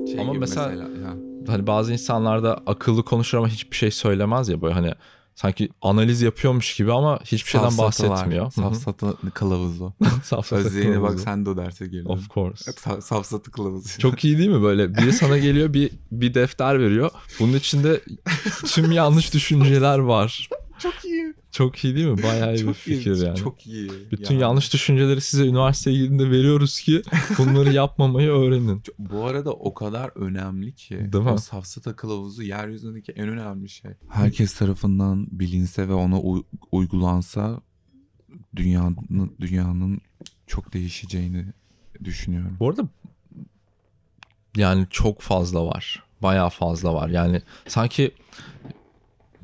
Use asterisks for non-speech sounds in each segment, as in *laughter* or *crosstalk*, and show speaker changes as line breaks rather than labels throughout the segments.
mesela,
Şey mesela ya.
hani bazı insanlarda akıllı konuşur ama hiçbir şey söylemez ya böyle hani sanki analiz yapıyormuş gibi ama hiçbir şeyden
Safsatalar,
bahsetmiyor. Hı hı. *laughs*
Safsata *laughs* kılavuzu.
Safsata
Özleyene bak
kılavuzu.
sen de o derse girdin.
Of course.
Sa- Safsatı kılavuzu.
Çok iyi değil mi böyle? Biri sana geliyor bir bir defter veriyor. Bunun içinde tüm yanlış düşünceler var.
*laughs* çok iyi.
Çok iyi değil mi? Bayağı iyi bir fikir
iyi,
yani.
Çok iyi.
Bütün
Yani.
yanlış düşünceleri size üniversiteye girdiğinde veriyoruz ki bunları yapmamayı öğrenin.
Çok- Bu arada o kadar önemli ki.
Değil mi?
O safsata kılavuzu yeryüzündeki en önemli şey. Herkes tarafından bilinse ve ona uy- uygulansa dünyanın dünyanın çok değişeceğini düşünüyorum.
Bu arada yani çok fazla var. Bayağı fazla var. Yani sanki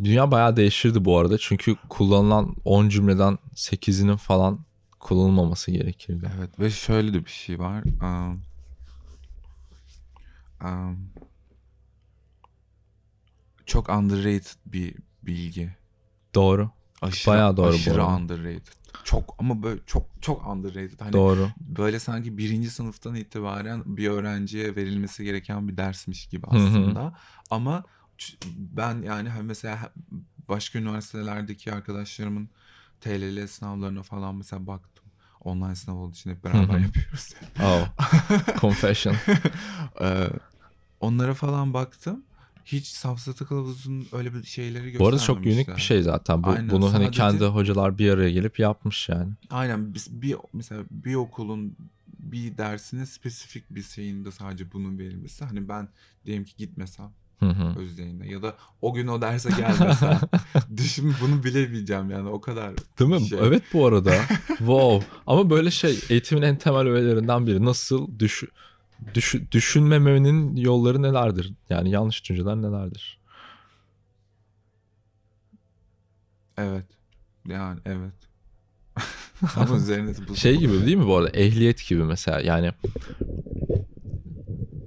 dünya bayağı değişirdi bu arada. Çünkü kullanılan 10 cümleden 8'inin falan kullanılmaması gerekirdi.
Evet ve şöyle de bir şey var. Am, am, çok underrated bir bilgi.
Doğru.
Aşırı,
Bayağı doğru bu
aşırı
arada.
underrated. Çok ama böyle çok çok underrated. Hani *laughs*
Doğru.
böyle sanki birinci sınıftan itibaren bir öğrenciye verilmesi gereken bir dersmiş gibi
Hı hı.
aslında. Ama ç- ben yani hani mesela he- başka üniversitelerdeki arkadaşlarımın TLL sınavlarına falan mesela baktım. Online sınav olduğu için hep beraber
hı.
yapıyoruz.
Oh. Confession.
*laughs* Ee, onlara falan baktım. Hiç safsata kılavuzun öyle bir şeyleri göstermemişler.
Bu arada çok unik bir şey zaten. Bu,
Aynen,
bunu hani
sadece-
kendi hocalar bir araya gelip yapmış yani.
Aynen biz bir mesela bir okulun bir dersine spesifik bir şeyinde sadece bunun verilmesi. Hani ben diyelim ki gitmesem
Hı hı.
özleyine ya da o gün o derse
*laughs*
gelmesem. Düşün bunu bilemeyeceğim yani o kadar.
Değil mi?
Şey.
Evet bu arada.
*laughs*
wow. Ama böyle şey eğitimin en temel öğelerinden biri. Nasıl düş, düş, düşünmemenin yolları nelerdir? Yani yanlış düşünceler nelerdir?
Evet. Yani
*laughs*
evet. Ama üzerine de bu-
Şey gibi değil mi bu arada? Ehliyet gibi mesela. Yani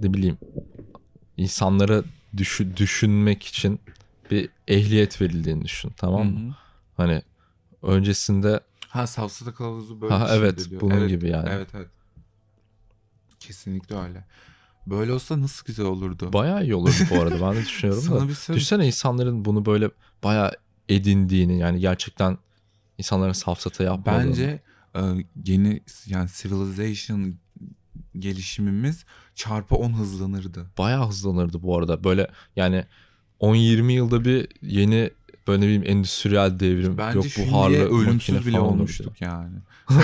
ne bileyim insanlara düşü, düşünmek için bir ehliyet verildiğini düşün. Tamam mı?
Hı hı.
Hani öncesinde
Ha safsata kılavuzu böyle
Ha,
bir şey
evet,
de diyor.
bunun gibi yani.
Evet evet. Kesinlikle öyle. Böyle olsa nasıl güzel olurdu.
bayağı iyi olurdu bu arada. Ben de düşünüyorum
*laughs*
da.
Sana bir söz.
Düşünsene insanların bunu böyle bayağı edindiğini yani gerçekten insanların safsata yapmadığını.
Bence e, yeni yani civilization gelişimimiz çarpı 10 hızlanırdı.
bayağı hızlanırdı bu arada. Böyle yani 10-20 yılda bir yeni böyle ne bileyim endüstriyel devrim
Bence
yok buharlı
şimdiye
makine
ölümsüz bile
falan olurdu.
olmuştuk yani.
*laughs*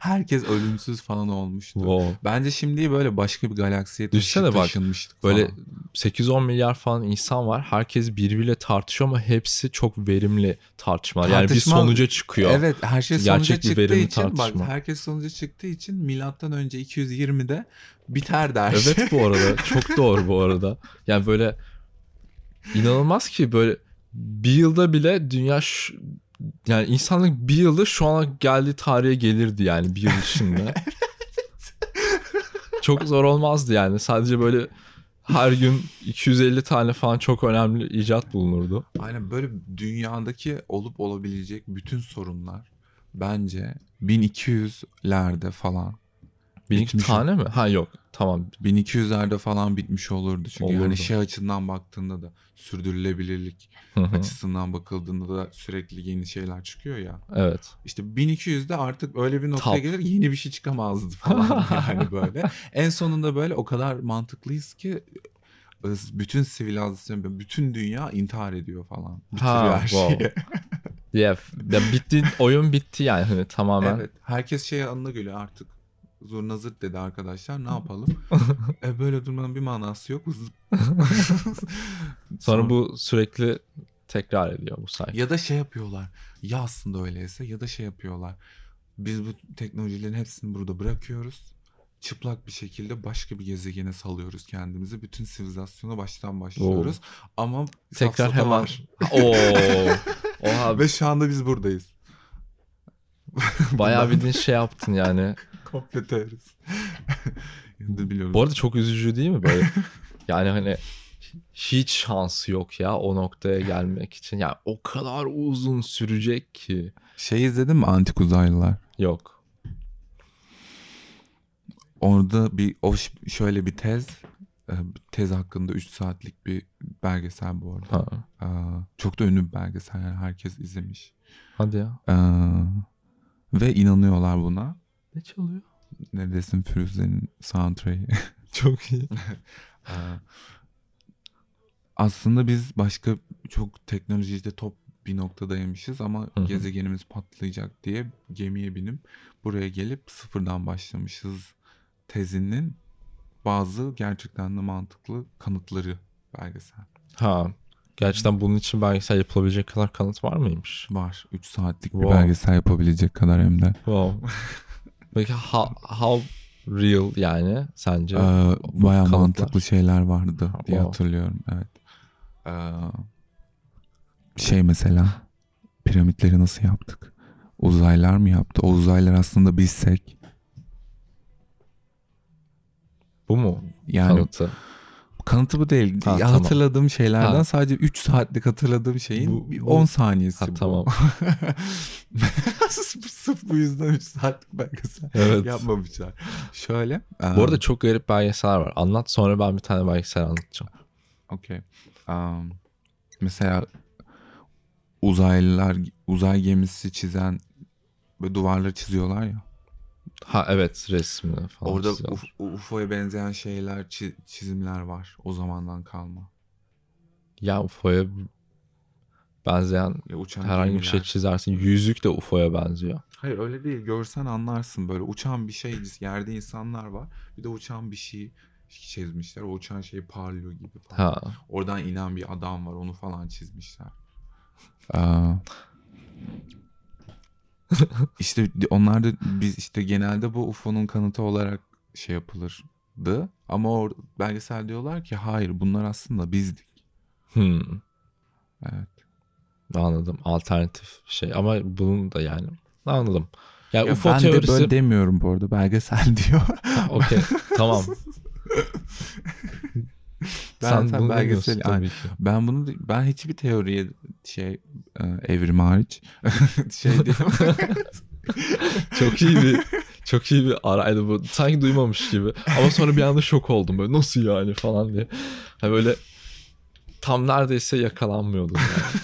Herkes ölümsüz falan olmuştu.
Wow.
Bence şimdi böyle başka bir galaksiye taşı-
Düşünsene bak,
taşınmıştık
Böyle
falan.
8-10 milyar falan insan var. Herkes birbiriyle tartışıyor ama hepsi çok verimli tartışmalar. Yani bir
Tartışma-
sonuca çıkıyor.
Evet her şey
Gerçek
sonuca
bir
çıktığı
verimli
için
tartışma.
bak herkes sonuca çıktığı için milattan önce 220'de biter der.
Evet bu arada çok doğru bu arada. Yani böyle inanılmaz ki böyle bir yılda bile dünya şu- yani insanlık bir yılda şu ana geldiği tarihe gelirdi yani bir yıl içinde. çok zor olmazdı yani sadece böyle her gün 250 tane falan çok önemli icat bulunurdu.
Aynen böyle dünyadaki olup olabilecek bütün sorunlar bence 1200'lerde falan
Bir
Bitmiş
tane mi? Ha yok tamam
1200'lerde falan bitmiş olurdu. Çünkü
Olurdu.
yani şey açısından baktığında da sürdürülebilirlik
Hı hı.
açısından bakıldığında da sürekli yeni şeyler çıkıyor ya.
evet
İşte 1200'de artık öyle bir noktaya
Tap.
gelir yeni bir şey çıkamazdı
*laughs*
falan yani böyle. En sonunda böyle o kadar mantıklıyız ki ıı, bütün sivilizasyon, bütün dünya intihar ediyor falan. Bitiriyor
Ha,
her
wow.
şeyi.
diye ya bitti oyun bitti yani hani tamamen
Evet. Herkes şey anına geliyor artık. Zurna zırt dedi
*laughs*
arkadaşlar. Ne yapalım? e böyle durmanın bir manası yok. Zırt.
sonra bu sürekli tekrar ediyor bu sayfa.
ya da şey yapıyorlar. Ya aslında öyleyse ya da şey yapıyorlar. Biz bu teknolojilerin hepsini burada bırakıyoruz. Çıplak bir şekilde başka bir gezegene salıyoruz kendimizi. Bütün sivilizasyona baştan başlıyoruz. Ama
Tekrar
safsata
hemen.
var.
Oo.
*laughs*
Oha
Ve şu anda biz buradayız.
bayağı bildiğin şey yaptın yani.
Komple *laughs* teoriz. Biliyorum.
Bu arada çok üzücü değil mi böyle? Yani hani hiç şansı yok ya o noktaya gelmek için. Yani o kadar uzun sürecek ki.
Şey izledin mi Antik Uzaylılar?
Yok.
Orada bir o ş- şöyle bir tez e, e, tez hakkında 3 saatlik bir belgesel bu arada.
Ha.
Ee, çok da ünlü bir belgesel yani herkes izlemiş.
Hadi ya.
Ee, ve inanıyorlar buna.
Ne çalıyor?
Neredesin Firuze'nin soundtrack'i. *laughs*
Çok *laughs* iyi.
Ee, Aslında biz başka çok teknolojide top bir noktadaymışız ama
Hı hı.
gezegenimiz patlayacak diye gemiye binip buraya gelip sıfırdan başlamışız tezinin bazı gerçekten de mantıklı kanıtları belgesel.
Ha. Gerçekten bunun için belgesel yapılabilecek kadar kanıt var mıymış?
Var. 3 saatlik bir
Wow.
belgesel yapabilecek kadar hem de.
Wow. Peki how, how real yani sence?
Ee,
bu
bayağı
kanıtlar.
mantıklı şeyler vardı
Ha,
diye
wow.
hatırlıyorum. Evet. Ee, şey mesela piramitleri nasıl yaptık? Uzaylar mı yaptı? O uzaylar aslında bizsek.
Bu mu
Yani
kanıtı?
kanıtı bu değil.
Ha,
Ya
tamam.
Hatırladığım şeylerden
Ha.
sadece 3 saatlik hatırladığım şeyin
Bu-
bir
bu-
10 saniyesi
Ha,
bu.
tamam.
sırf, *laughs* sırf bu yüzden 3 saatlik belgesel
Evet.
yapmamışlar. Şöyle. e,
Bu arada çok garip belgeseller var. Anlat sonra ben bir tane belgesel anlatacağım.
Okey. Am, mesela uzaylılar uzay gemisi çizen böyle duvarları çiziyorlar ya.
Ha evet resmini falan.
Orada
çiziyorlar.
Uf- UFO'ya benzeyen şeyler, çi- çizimler var. O zamandan kalma.
Ya UFO'ya benzeyen
Ya uçan
herhangi bir şey
gemiler.
çizersin. Yüzük de UFO'ya benziyor.
Hayır öyle değil. Görsen anlarsın böyle uçan bir şey yerde insanlar var. Bir de uçan bir şey çizmişler. O uçan şey parlıyor gibi falan.
Ha.
Oradan inen bir adam var. Onu falan çizmişler. *laughs* Aa. işte onlar da biz işte genelde bu UFO'nun kanıtı olarak şey yapılırdı. Ama or- belgesel diyorlar ki hayır bunlar aslında bizdik.
Hmm.
Evet.
Anladım. Alternatif bir şey. Ama bunun da yani. Anladım. Ya,
Ya
UFO
ben
teorisi.
de böyle demiyorum bu arada belgesel *laughs* diyor.
*laughs* Okey. tamam.
*laughs* Ben
Sen
sen
bunu
belgesel-
belgesel tabii ki.
ben bunu ben hiçbir teoriye şey e, evrim hariç *laughs* şey
*laughs*
diyemem.
Çok iyi bir çok iyi bir araydı bu. Sanki duymamış gibi. Ama sonra bir anda şok oldum böyle nasıl yani falan diye. Ha böyle tam neredeyse yakalanmıyordum. Yani.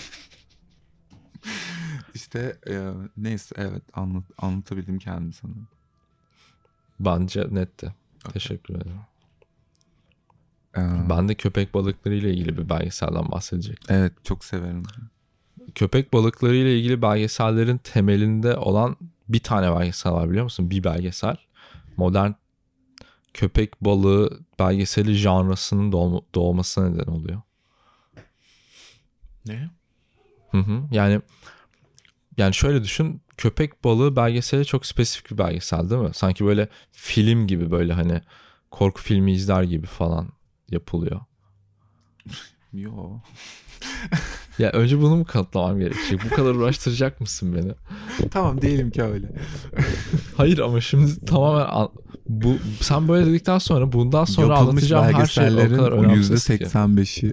işte e, neyse evet anlat, anlatabildim kendimi sanırım.
Bence netti. Teşekkür ederim.
E,
Ben de köpek balıkları ile ilgili bir belgeselden bahsedecektim.
Evet çok severim.
Köpek balıkları ile ilgili belgesellerin temelinde olan bir tane belgesel var biliyor musun? Bir belgesel. Modern köpek balığı belgeseli janrasının doğma- doğmasına neden oluyor.
Ne?
Hı hı. Yani yani şöyle düşün. Köpek balığı belgeseli çok spesifik bir belgesel değil mi? Sanki böyle film gibi böyle hani korku filmi izler gibi falan yapılıyor.
Yo.
Ya önce bunu mu kanıtlamam gerekecek? Bu kadar uğraştıracak mısın beni?
tamam diyelim ki öyle.
Hayır ama şimdi tamamen an- bu sen böyle dedikten sonra bundan sonra
Yapılmış
anlatacağım her şey o kadar
belgesellerin yüzde
önemsiz
%85'i
ki.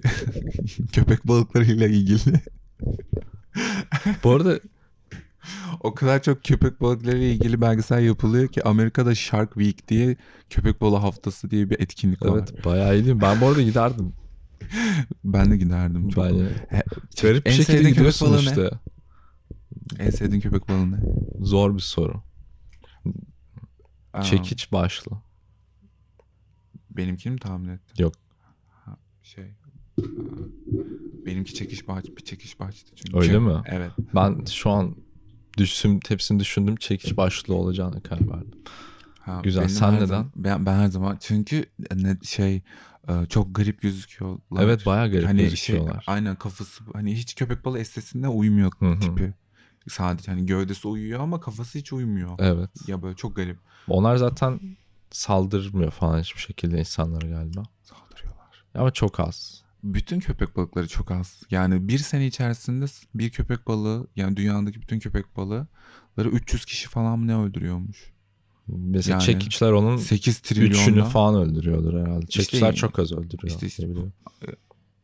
*laughs* köpek balıklarıyla ilgili.
Bu arada
O kadar çok köpek balıklarıyla ilgili belgesel yapılıyor ki Amerika'da Shark Week diye köpek balığı haftası diye bir etkinlik var.
evet bayağı iyi değil mi? Ben bu arada giderdim.
Ben de giderdim çok.
Yani,
He-
garip bir
En sevdiğin
şekilde
köpek
gidiyorsun
balığı ne?
işte.
En sevdiğin köpek balığı ne?
Zor bir soru.
Aa,
Çekiç başlı.
Benimkini mi tahmin ettin?
Yok.
Ha, şey. aa, Benimki çekiş bahç, bir çekiş bahçesi çünkü.
Öyle mi?
Evet.
Ben şu an düşsüm hepsini düşündüm çekiç başlı olacağına karar verdim.
Ha,
Güzel,
benim
sen
her
neden?
zaman- ben, ben her zaman çünkü ne, şey e, çok garip gözüküyorlar.
Evet bayağı garip
hani
gözüküyorlar.
Şey, aynen kafası hani hiç köpek balığı estetiğine uymuyor
Hı hı.
tipi. Sadece hani gövdesi uyuyor ama kafası hiç uymuyor.
Evet.
Ya böyle çok garip
Onlar zaten saldırmıyor falan hiçbir şekilde insanlara galiba.
saldırıyorlar.
Ama çok az.
Bütün köpek balıkları çok az. Yani bir sene içerisinde s- bir köpek balığı yani dünyadaki bütün köpek balıkları 300 kişi falan mı ne öldürüyormuş?
Mesela
Yani
çekiçler onun
8
üçünü
trilyonla.
falan öldürüyordur herhalde.
İşte-
Çekiçler çok az öldürüyor.
işte- işte
diye biliyorum.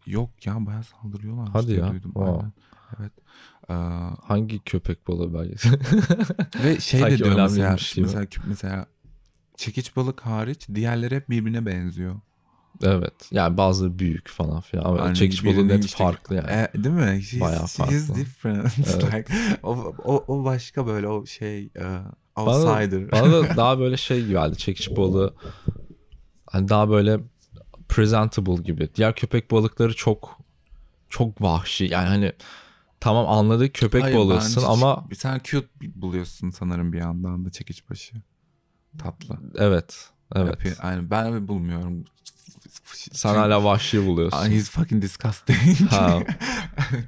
Yok ya bayağı saldırıyorlar.
Hadi
diye
ya.
duydum.
Aa.
Aynen. Evet. Ee,
Hangi köpek balığı belgeseli?
Ve şey de
Sanki
diyor mesela,
önemliymiş gibi.
mesela mesela çekiç balık hariç diğerleri hep birbirine benziyor.
*laughs* Evet. Yani bazı büyük falan filan. Ama
Aynen,
çekişmeli
birinin
net
işte-
farklı yani.
E, değil mi? She's,
Bayağı
she's
farklı.
different. *laughs*
Evet.
like, o, o, o başka böyle o şey e,
Bana da-
outsider. *laughs*
Bana da daha böyle şey gibi geldi. Çekiç balığı. Hani daha böyle presentable gibi. Diğer köpek balıkları çok çok vahşi. Yani hani tamam anladık köpek
Hayır,
balığısın
bence
ama
Bir tane cute buluyorsun sanırım bir yandan da çekiçbaşı. Tatlı.
evet. Evet.
Yapıyor. Aynen ben öyle bulmuyorum.
Sen hala vahşi buluyorsun.
Ah, He's fucking disgusting.
Ha.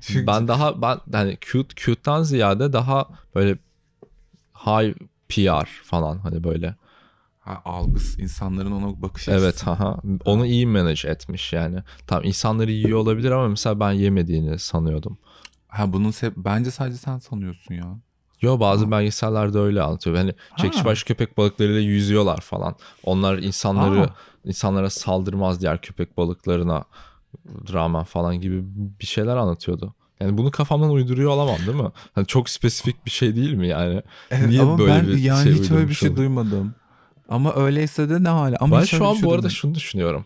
Çünkü
Ben daha ben hani cute cute'tan ziyade daha böyle high PR falan hani böyle.
*laughs* ha, algıs insanların ona bakış açısı.
Evet haha. Onu iyi manage etmiş yani. Tam insanları yiyor olabilir ama mesela ben yemediğini sanıyordum.
Ha bunun se- bence sadece sen sanıyorsun ya.
Yo bazı
Ha.
belgesellerde öyle anlatıyor. Hani çekişbaş köpek balıklarıyla yüzüyorlar falan. Onlar insanları
Ha.
insanlara saldırmaz diğer köpek balıklarına rağmen falan gibi bir şeyler anlatıyordu. Yani bunu kafamdan uyduruyor olamam değil mi? Hani çok spesifik bir şey değil mi yani?
Evet,
Niye
ama
böyle
ben
bir
yani
şey
hiç öyle bir
uydurmuş
şey
olduk?
duymadım. Ama öyleyse de ne hala. Ama
ben
hiç öyle
şu an
bir şey
bu arada
duymadım.
şunu düşünüyorum.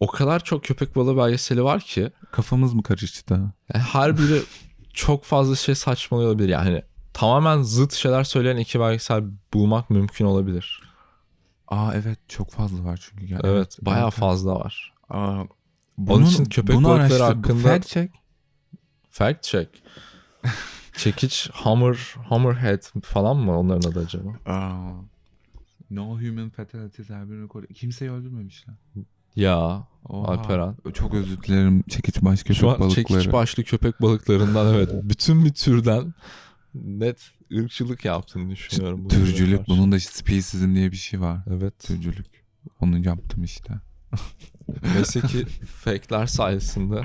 O kadar çok köpek balığı belgeseli var ki
kafamız mı karıştı?
yani her biri çok fazla şey saçmalıyor olabilir. Yani hani tamamen zıt şeyler söyleyen iki belgesel bulmak mümkün olabilir.
Aa evet çok fazla var çünkü. Yani.
Evet, bayağı
evet.
fazla var.
Aa,
Onun için köpek balıkları
araştır-
hakkında-
Fact check. *laughs*
Fact check. Çekiç, hammer, hammerhead falan mı onların adı acaba?
Aa, no human fatalities have been recorded. Kimseyi öldürmemişler.
Ya
Oha.
Alperen.
Çok özür dilerim çekiç baş köpek
Şu an
balıkları.
çekiç başlı köpek
*laughs*
balıklarından evet bütün bir türden net ırkçılık yaptığını düşünüyorum. bu
Türcülük
duruma
bunun da speciesizm diye bir şey var.
karşı. Evet.
Türcülük. Onu yaptım işte.
Neyse ki fake'ler sayesinde.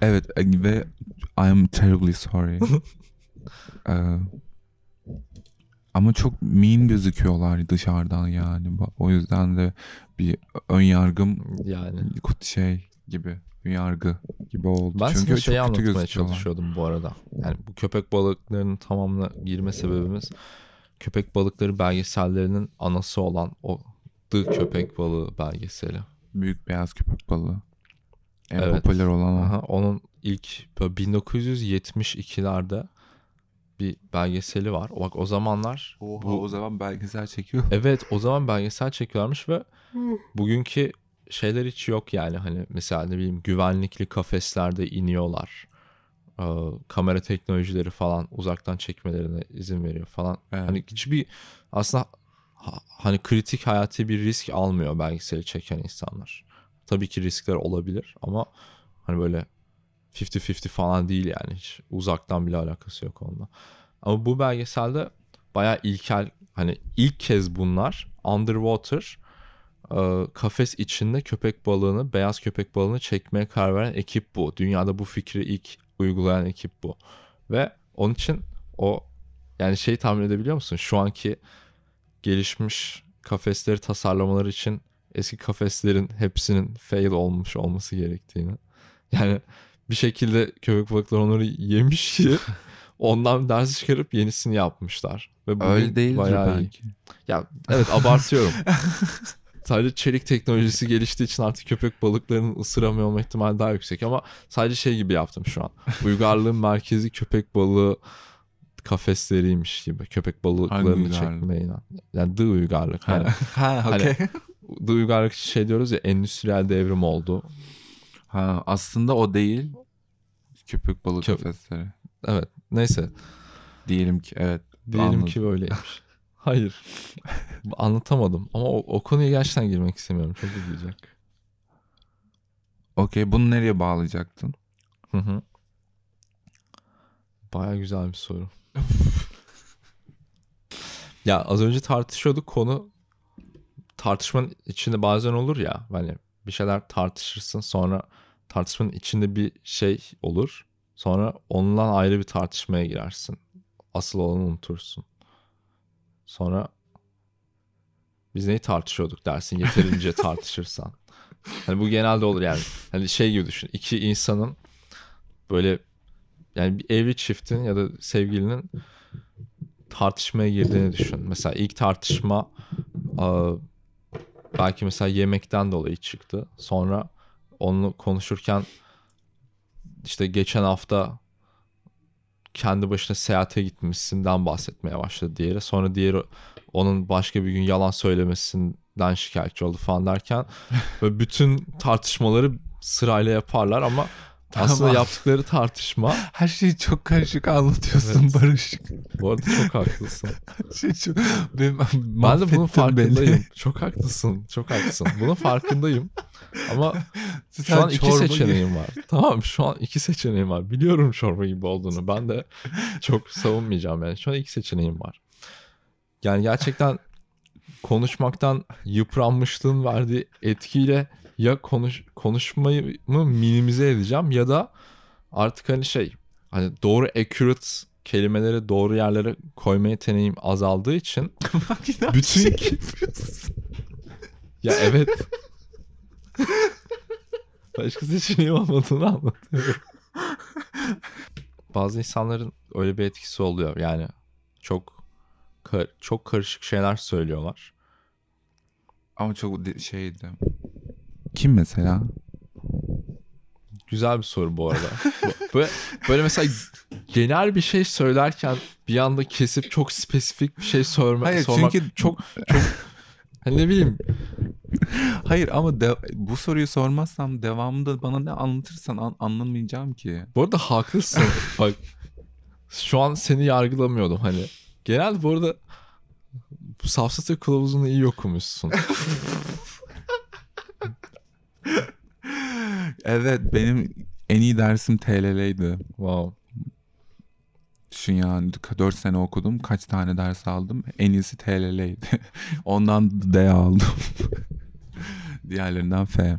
Evet e, ve I'm terribly sorry.
*laughs*
Ee, ama çok mean gözüküyorlar dışarıdan yani. Ba- O yüzden de bir ön yargım *laughs*
Yani.
kut- şey gibi ön yargı gibi oldu.
Ben
Çünkü
sana
çok
şeyi
kötü
anlatmaya
gözüküyorlar.
çalışıyordum bu arada. Yani bu köpek balıklarının tamamına girme sebebimiz köpek balıkları belgesellerinin anası olan o The Köpek Balığı belgeseli.
Büyük beyaz köpek balığı. En
Evet.
popüler olan o.
Aha, onun ilk böyle 1972'lerde bir belgeseli var. Bak o zamanlar
Oha,
bu-
o zaman belgesel çekiyor. *laughs*
Evet o zaman belgesel çekiyorlarmış ve bugünkü şeyler hiç yok yani hani mesela ne bileyim güvenlikli kafeslerde iniyorlar. Ee, kamera teknolojileri falan uzaktan çekmelerine izin veriyor falan.
Evet.
Hani hiçbir aslında ha- hani kritik hayati bir risk almıyor belgeseli çeken insanlar. Tabii ki riskler olabilir ama hani böyle 50-50 falan değil yani hiç uzaktan bile alakası yok onunla. Ama bu belgeselde bayağı ilkel hani ilk kez bunlar underwater e, kafes içinde köpek balığını beyaz köpek balığını çekmeye karar veren ekip bu. Dünyada bu fikri ilk uygulayan ekip bu. Ve onun için o yani şey tahmin edebiliyor musun? Şu anki gelişmiş kafesleri tasarlamaları için eski kafeslerin hepsinin fail olmuş olması gerektiğini. Yani bir şekilde köpek balıkları onları
*laughs*
yemiş ki ondan ders çıkarıp yenisini yapmışlar. Ve bugün
Öyle değildir
bayağı iyi.
belki.
Ya evet abartıyorum. sadece çelik teknolojisi geliştiği için artık köpek balıklarının ısıramıyor olma ihtimali daha yüksek ama sadece şey gibi yaptım şu an. Uygarlığın merkezi köpek balığı kafesleriymiş gibi. Köpek balıklarını
uygarlık?
çekmeye inan. Yani dı uygarlık. Hani,
*laughs* ha
Hani-
okey.
dı uygarlık için şey diyoruz ya endüstriyel devrim oldu.
Ha, aslında o değil. Köpek balık
Köp-
kafesleri.
Evet neyse
Diyelim ki evet.
diyelim
Anladım.
ki böyleymiş.
*laughs*
Hayır. Anlatamadım ama o, o konuya gerçekten girmek istemiyorum. Çok üzülecek.
Okey bunu nereye bağlayacaktın?
Hı hı. Baya güzel bir soru. *laughs* ya az önce tartışıyorduk konu tartışmanın içinde bazen olur ya hani bir şeyler tartışırsın sonra tartışmanın içinde bir şey olur sonra ondan ayrı bir tartışmaya girersin asıl olanı unutursun sonra biz neyi tartışıyorduk dersin *laughs* yeterince tartışırsan hani bu genelde olur yani hani şey gibi düşün iki insanın böyle yani bir evli çiftin ya da sevgilinin tartışmaya girdiğini düşün. Mesela ilk tartışma aa, belki mesela yemekten dolayı çıktı. Sonra onu konuşurken işte geçen hafta kendi başına seyahate gitmişsinden bahsetmeye başladı diğeri. Sonra diğeri onun başka bir gün yalan söylemesinden şikayetçi oldu falan derken böyle bütün tartışmaları sırayla yaparlar ama
Tamam.
aslında yaptıkları tartışma
Her şeyi çok karışık anlatıyorsun
Evet.
Barış.
bu arada çok haklısın.
Her Şey çok... Benim,
Ben de bunun
*laughs* mahvettin beni.
farkındayım. Çok haklısın. Çok haklısın. Bunun farkındayım. Ama
Sen
şu an iki
çorba gibi-
seçeneğim var. *laughs* Tamam şu an iki seçeneğim var. Biliyorum çorba gibi olduğunu. Ben *laughs* de çok savunmayacağım yani. Şu an iki seçeneğim var. Yani gerçekten konuşmaktan yıpranmışlığın verdiği etkiyle ya konuş konuşmayı mı minimize edeceğim ya da artık hani şey hani doğru accurate kelimeleri doğru yerlere koyma yeteneğim azaldığı için
*laughs* Makine
Bütün-
şey yapıyorsun.
ya evet başka seçeneğim olmadığını anlatıyorum. Bazı insanların öyle bir etkisi oluyor yani çok ka- çok karışık şeyler söylüyorlar.
Ama çok de- şeydi. Kim mesela?
Güzel bir soru bu arada. Bu- böyle, böyle mesela genel bir şey söylerken bir anda kesip çok spesifik bir şey sorma,
Hayır
sormak.
çünkü çok
Hani ne bileyim
hayır ama de- bu soruyu sormazsam devamında bana ne anlatırsan an- anlamayacağım ki.
Bu
*laughs*
arada haklısın. Bak şu an seni yargılamıyordum hani. Genel bu arada bu safsata kılavuzunu iyi okumuşsun.
Evet benim en iyi dersim TLL'ydi.
Wow.
Düşün yani 4 sene okudum kaç tane ders aldım en iyisi TLL'ydi. *laughs* Ondan D aldım. *laughs* Diğerlerinden F.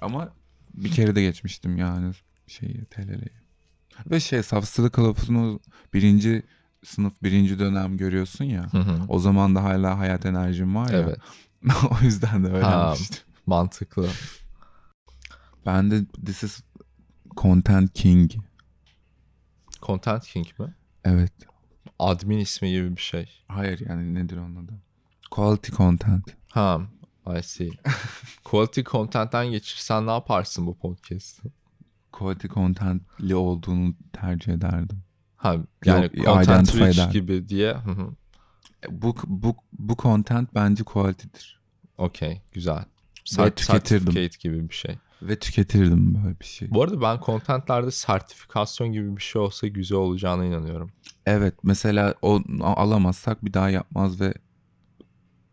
Ama bir kere de geçmiştim yani şeyi TLL'yi. Ve şey safsızlık kılavuzunu birinci sınıf birinci dönem görüyorsun ya.
Hı hı.
O zaman da hala hayat enerjim var ya.
evet.
*laughs* o yüzden de öğrenmiştim.
Mantıklı.
Ben de This is Content King.
Content King mi?
Evet.
Admin ismi gibi bir şey.
Hayır yani nedir onun adı? Quality Content.
Ha.
*laughs*
I see. Quality content'ten geçirsen ne yaparsın bu podcast'ı?
Quality Content'li olduğunu tercih ederdim.
Ha, yani
Yok,
content
identify
rich
eder.
gibi diye. Hı hı.
E, Bu, bu, bu content bence quality'dir.
Okey. Güzel.
Ve
Cert-
tüketirdim.
Certificate gibi bir şey.
Ve tüketirdim böyle bir şey.
Bu arada ben kontentlerde sertifikasyon gibi bir şey olsa güzel olacağına inanıyorum.
Evet mesela o a- alamazsak bir daha yapmaz ve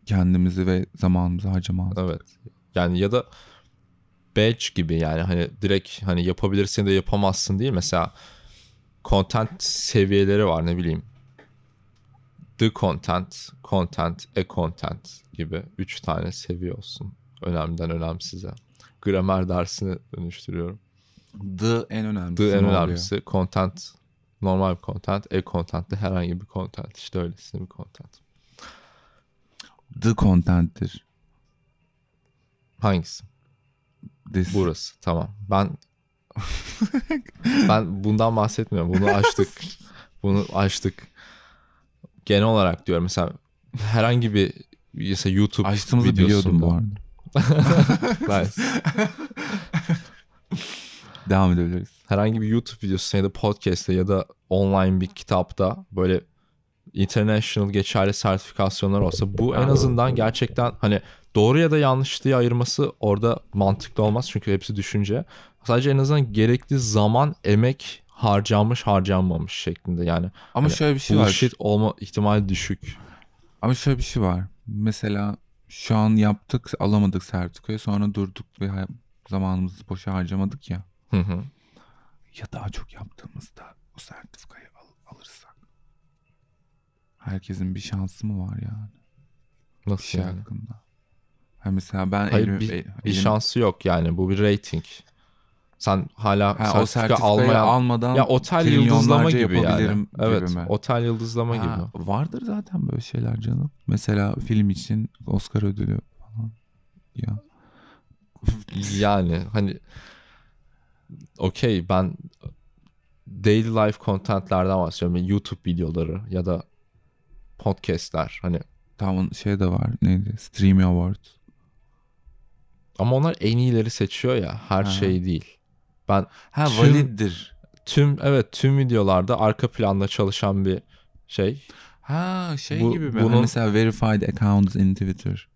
kendimizi ve zamanımızı harcamaz.
Evet. Yani ya da badge gibi yani hani direkt hani yapabilirsin de yapamazsın değil. Mesela content seviyeleri var ne bileyim. The content, content, e content gibi üç tane seviye olsun. Önemliden önemsize. Gramer dersini dönüştürüyorum.
The en önemlisi.
The en
oluyor.
önemlisi content normal bir content, e content de herhangi bir content. İşte öylesine bir content.
The content'tir.
Hangisi?
This.
Burası tamam. Ben ben bundan bahsetmiyorum. Bunu açtık. Bunu açtık. Genel olarak diyorum mesela herhangi bir mesela YouTube
Açtığımızı biliyordum bu arada.
arada.
Devam edebiliriz.
herhangi bir YouTube videosunda ya da podcast'te ya da online bir kitapta böyle international geçerli sertifikasyonlar olsa bu en azından gerçekten hani doğru ya da yanlış diye ayırması orada mantıklı olmaz çünkü hepsi düşünce. Sadece en azından gerekli zaman, emek harcanmış harcanmamış şeklinde yani
Ama
Hani
şöyle bir şey var.
bullshit olma ihtimali düşük.
Ama şöyle bir şey var. Mesela şu an yaptık, alamadık sertifikayı. Sonra durduk ve hay- zamanımızı boşa harcamadık ya.
Hı hı.
Ya daha çok yaptığımızda o sertifikayı al- alırsak. Herkesin bir şansı mı var yani? Bir
Nasıl
şey
yani?
hakkında. Ha mesela ben
Hayır,
elimi- e-
Bir
elim-
şansı yok yani bu bir rating. Sen hala
Ha, o
sertifika
sertifikayı
almayan
almadan
Ya otel
trilyonlarca
yıldızlama gibi yani.
yapabilirim
Evet.
gibi mi?
Otel yıldızlama
Ha,
gibi.
Vardır zaten böyle şeyler canım. Mesela film için Oscar ödülü falan. Ya.
Yani hani okey ben daily life contentlerden bahsediyorum. Yani YouTube videoları ya da podcastler hani
Tamam şey de var. Neydi? Streamy Awards.
Ama onlar en iyileri seçiyor ya her
Ha.
şey değil. Ben
Ha
Tüm-
validdir.
tüm evet tüm videolarda arka planda çalışan bir şey.
Ha şey
Bu-
gibi mi?
bunun-
Hani mesela verified accounts in Twitter.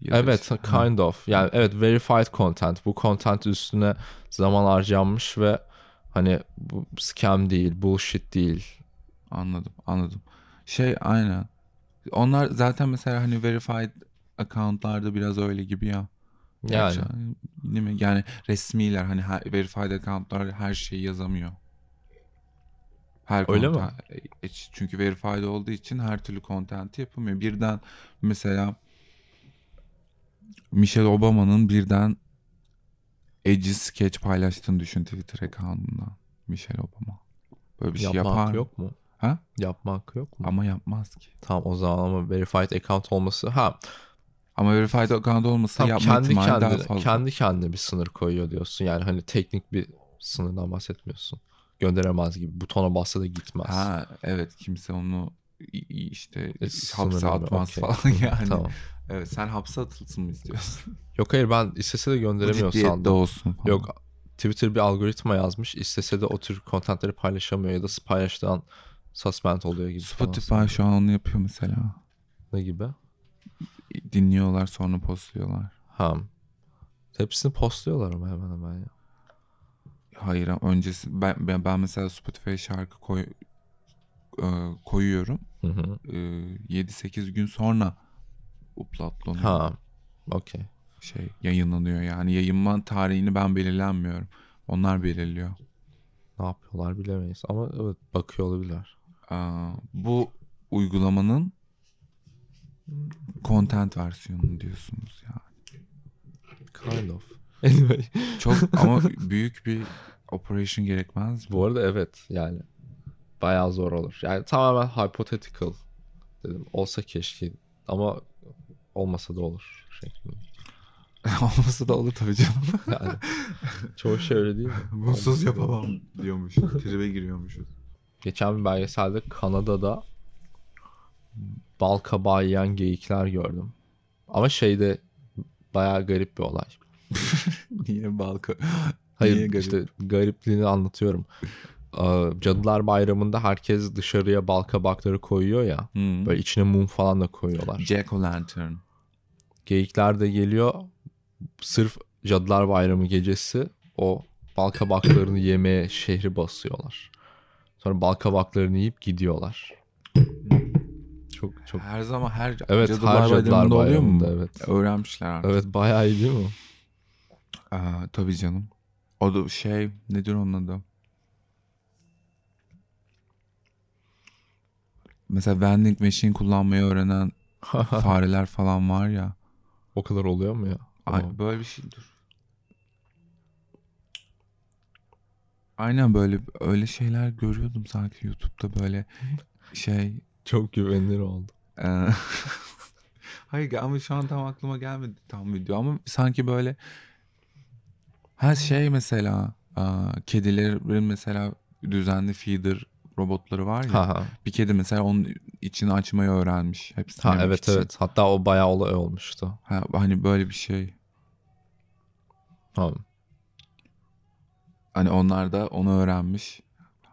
Ya da
Evet
işte- Ha.
kind of. Yani evet verified content. Bu content üstüne zaman harcanmış ve hani bu scam değil, bullshit değil.
Anladım, anladım. Şey aynen. Onlar zaten mesela hani verified account'larda biraz öyle gibi ya.
Yani
Gerçi- değil mi? Yani resmiler hani her, verified account'lar her şeyi yazamıyor. Her
Öyle mi?
content- e, Çünkü verified olduğu için her türlü content'i yapamıyor. Birden mesela Michelle Obama'nın birden edgy sketch paylaştığını düşün Twitter account'undan. Michelle Obama. Böyle bir şey
yapma
yapar.
hakkı
mı?
yok mu?
Ha?
Yapma hakkı yok mu?
Ama yapmaz ki.
Tamam o zaman ama verified account olması ha
Ama verified account olmasa
tam
yapma
kendi
ihtimali daha
kendine
fazla.
kendi kendine bir sınır koyuyor diyorsun. Yani hani teknik bir sınırdan bahsetmiyorsun. Gönderemez gibi butona bassa da gitmez.
Ha evet kimse onu i- i- işte
E,
hapse
sınırlı,
atmaz
okey.
falan *laughs* yani.
Tamam.
Evet sen hapse atılsın mı *laughs* istiyorsun?
Yok hayır ben istese de
Bu
gönderemiyor
ciddiyette
sandım.
olsun falan.
Yok Twitter bir algoritma yazmış. İstese de o tür kontentleri paylaşamıyor ya da paylaştıran suspend oluyor gibi. falan.
Spotify şu an onu yapıyor mesela.
Ne gibi?
Dinliyorlar sonra postluyorlar.
Ha. Hepsini postluyorlar ama hemen hemen ya.
Hayır ama öncesi ben, ben, ben mesela Spotify'a şarkı koy, e, koyuyorum.
Hı hı.
E, 7-8 gün sonra uploadlanıyor.
Ha. Okey.
Şey yayınlanıyor yani yayınma tarihini ben belirlenmiyorum. Onlar belirliyor.
Ne yapıyorlar bilemeyiz ama evet bakıyor olabilirler.
Aa, bu uygulamanın content versiyonunu diyorsunuz ya.
Kind of. *laughs* Anyway.
*laughs* Çok ama büyük bir operation *laughs* gerekmez.
Bu arada evet yani bayağı zor olur. Yani tamamen hypothetical dedim. Olsa keşke ama olmasa da olur. şeklinde. *laughs*
Olması da olur tabii canım.
Yani çoğu şey öyle değil mi?
*laughs* Bunsuz yapamam diyormuş. Tribe giriyormuşuz.
Geçen bir belgeselde Kanada'da bal kabağı yiyen geyikler gördüm. Ama şeyde bayağı garip bir olay.
Niye balka?
Hayır
Niye garip?
işte garipliğini anlatıyorum. Ee, Cadılar Bayramı'nda herkes dışarıya bal kabakları koyuyor ya.
Hmm.
Böyle içine mum falan da koyuyorlar.
Jack o' lantern.
Geyikler de geliyor. Sırf Cadılar Bayramı gecesi o bal kabaklarını yemeye şehri basıyorlar. Sonra bal kabaklarını yiyip gidiyorlar. Çok çok.
Her zaman her
Evet
Cadılar
her Cadılar
Bayramı'nda oluyor mu?
Bayramı'nda evet.
Öğrenmişler artık.
Evet bayağı iyi değil
*laughs*
mi?
Aa, tabii canım. O da şey nedir onun adı? Mesela vending machine kullanmayı *laughs* öğrenen fareler falan var ya.
o kadar oluyor mu ya?
Ay,
Tamam.
böyle bir şey dur. Aynen böyle öyle şeyler görüyordum sanki YouTube'da böyle şey
Çok güvenilir oldu.
Ee, *laughs* Hayır ama şu an tam aklıma gelmedi tam video ama sanki böyle her şey mesela aa, kedilerin mesela düzenli feeder robotları var ya
Ha ha.
bir kedi mesela onun içini açmayı öğrenmiş hepsini
Ha
yemek
evet
için.
evet. Hatta o bayağı olay olmuştu.
Ha, hani böyle bir şey
Tamam.
hani onlar da onu öğrenmiş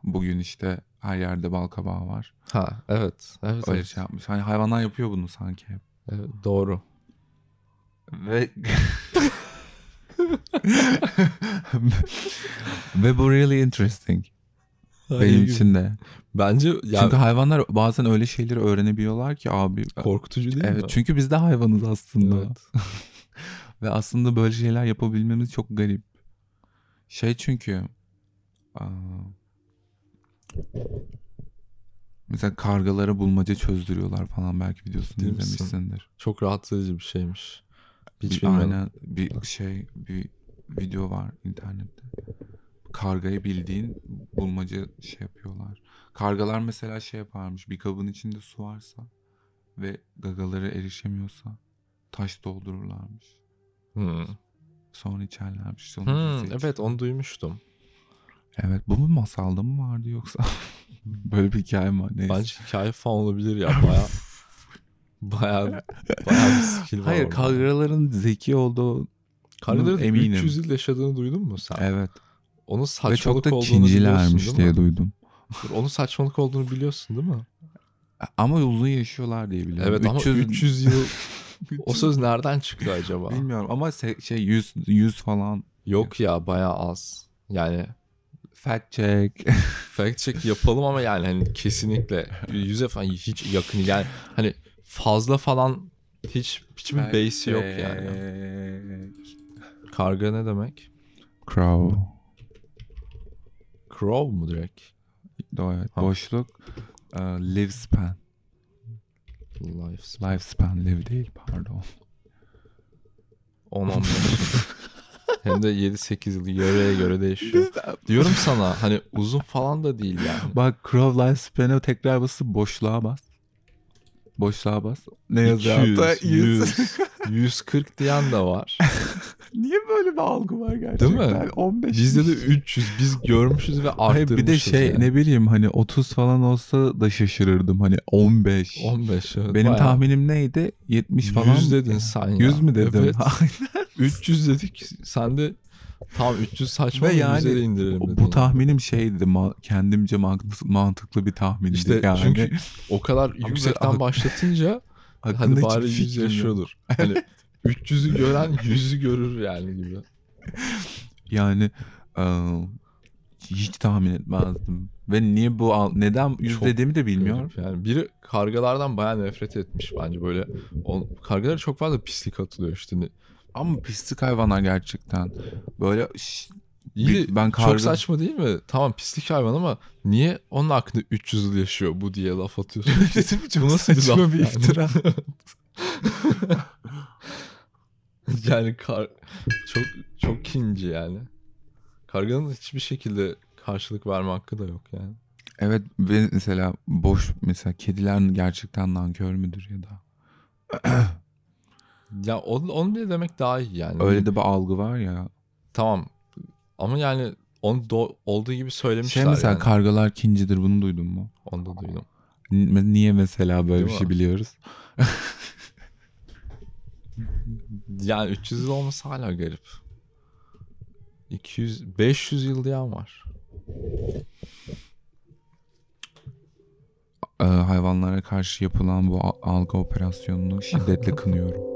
bugün işte her yerde bal kabağı var
Ha evet. Evet.
öyle
evet.
şey yapmış hani hayvanlar yapıyor bunu sanki hep.
Evet, doğru.
Ve Ve bu really interesting benim için de.
Bence ya
Çünkü hayvanlar bazen öyle şeyleri öğrenebiliyorlar ki abi.
korkutucu değil mi?
Evet çünkü biz de hayvanız aslında.
Evet.
Ve aslında böyle şeyler yapabilmemiz çok garip. Şey çünkü aa, mesela kargalara bulmaca çözdürüyorlar falan belki videosunu
Ciddi misin?
izlemişsindir.
*laughs* Çok rahatsız edici bir şeymiş. Hiç
bir,
bilmiyorum.
aynen bir şey bir video var internette. Kargayı bildiğin bulmaca şey yapıyorlar. Kargalar mesela şey yaparmış. Bir kabın içinde su varsa ve gagaları erişemiyorsa taş doldururlarmış.
Hmm.
Sonra içerlermiş. Sonra
Hmm,
bizi-
evet onu duymuştum.
Evet bu mu masalda mı vardı *laughs* yoksa? Böyle bir hikaye mi var? Neyse. *laughs*
Bence hikaye falan olabilir ya baya. Bayağı, bayağı bir skill var
Hayır
orada.
kargaların zeki olduğu
Kargaların
eminim.
300 yıl yaşadığını duydun mu sen?
evet.
Onun
Ve
saçmalık
çok da
olduğunu biliyorsun
kincilermiş
değil
diye
mi?
duydum.
Dur, Onun saçmalık olduğunu biliyorsun değil mi?
Ama uzun yaşıyorlar diye biliyorum.
Evet
300
ama 300 yıl *laughs* o söz nereden çıktı acaba?
bilmiyorum ama se- şey 100 100 falan
Yok ya bayağı az. Yani
fact *laughs* check.
fact check yapalım ama yani hani kesinlikle yüze falan hiç yakın yani hani fazla falan hiç hiçbir base'i yok
Ee,
yani. Karga ne demek?
Crow.
Crow mu direkt?
Do- evet.
Ha.
Boşluk. Ee, lifespan.
Life
Lifespan live değil *laughs* pardon.
10-15. *laughs* Hem de 7-8 yıl yarıya göre değişiyor. Diyorum sana hani uzun falan da değil yani.
Bak crow lifespan'e tekrar basıp boşluğa bas. Boşluğa bas. Ne yazıyor?
200,
altta?
100, 140 diyen de var.
*laughs* Niye böyle bir algı var gerçekten?
mi?
15
Bizde de 300 biz görmüşüz ve
Hayır,
arttırmışız.
bir de şey
yani.
ne bileyim hani 30 falan olsa da şaşırırdım hani 15.
15 evet,
Benim
bayağı.
tahminim neydi? 70 falan.
100 dedin sen ya.
100 mü dedim? *laughs*
Evet.
Aynen.
300 dedik sen de tam 300 saçma
Ve
Ve
yani
de indirelim dedin.
Bu tahminim şeydi ma- kendimce mant- mantıklı bir tahmindi.
İşte
yani.
çünkü o kadar yüksekten
ak-
başlatınca
*laughs* Hakkında
hadi
hiçbir
bari 100
fikrim yok. *laughs*
yaşıyordur. Hani 300'ü gören 100'ü görür yani gibi.
Yani e, hiç tahmin etmezdim. Ve niye bu al- neden 100
Çok
dediğimi de bilmiyorum.
Garip Yani biri kargalardan bayağı nefret etmiş bence böyle. O, kargalara çok fazla pislik atılıyor işte.
Ama pislik hayvanlar gerçekten. Böyle şş,
İyi
Bir-
de
ben karga-
çok saçma değil mi? Tamam pislik hayvan ama niye onun hakkında 300 yıl yaşıyor bu diye laf atıyorsun?
*laughs* dedim
Bu nasıl bir laf yani?
iftira. *laughs*
yani *laughs* kar... çok çok kinci yani. Karganın hiçbir şekilde karşılık verme hakkı da yok yani.
Evet ve mesela boş mesela kediler gerçekten nankör müdür ya da
Ya onu, onu bile demek daha iyi yani.
öyle de bir algı var ya.
Tamam. Ama yani onu do- olduğu gibi söylemişler
Şey mesela
yani.
kargalar kincidir bunu duydun mu?
Onu da duydum.
N- Niye mesela böyle
Değil
bir
mi?
şey biliyoruz?
Yani 300 yıl olması hala garip. 200, 500 yıl diyen var.
Ee, hayvanlara karşı yapılan bu a- algı operasyonunu şiddetle kınıyorum.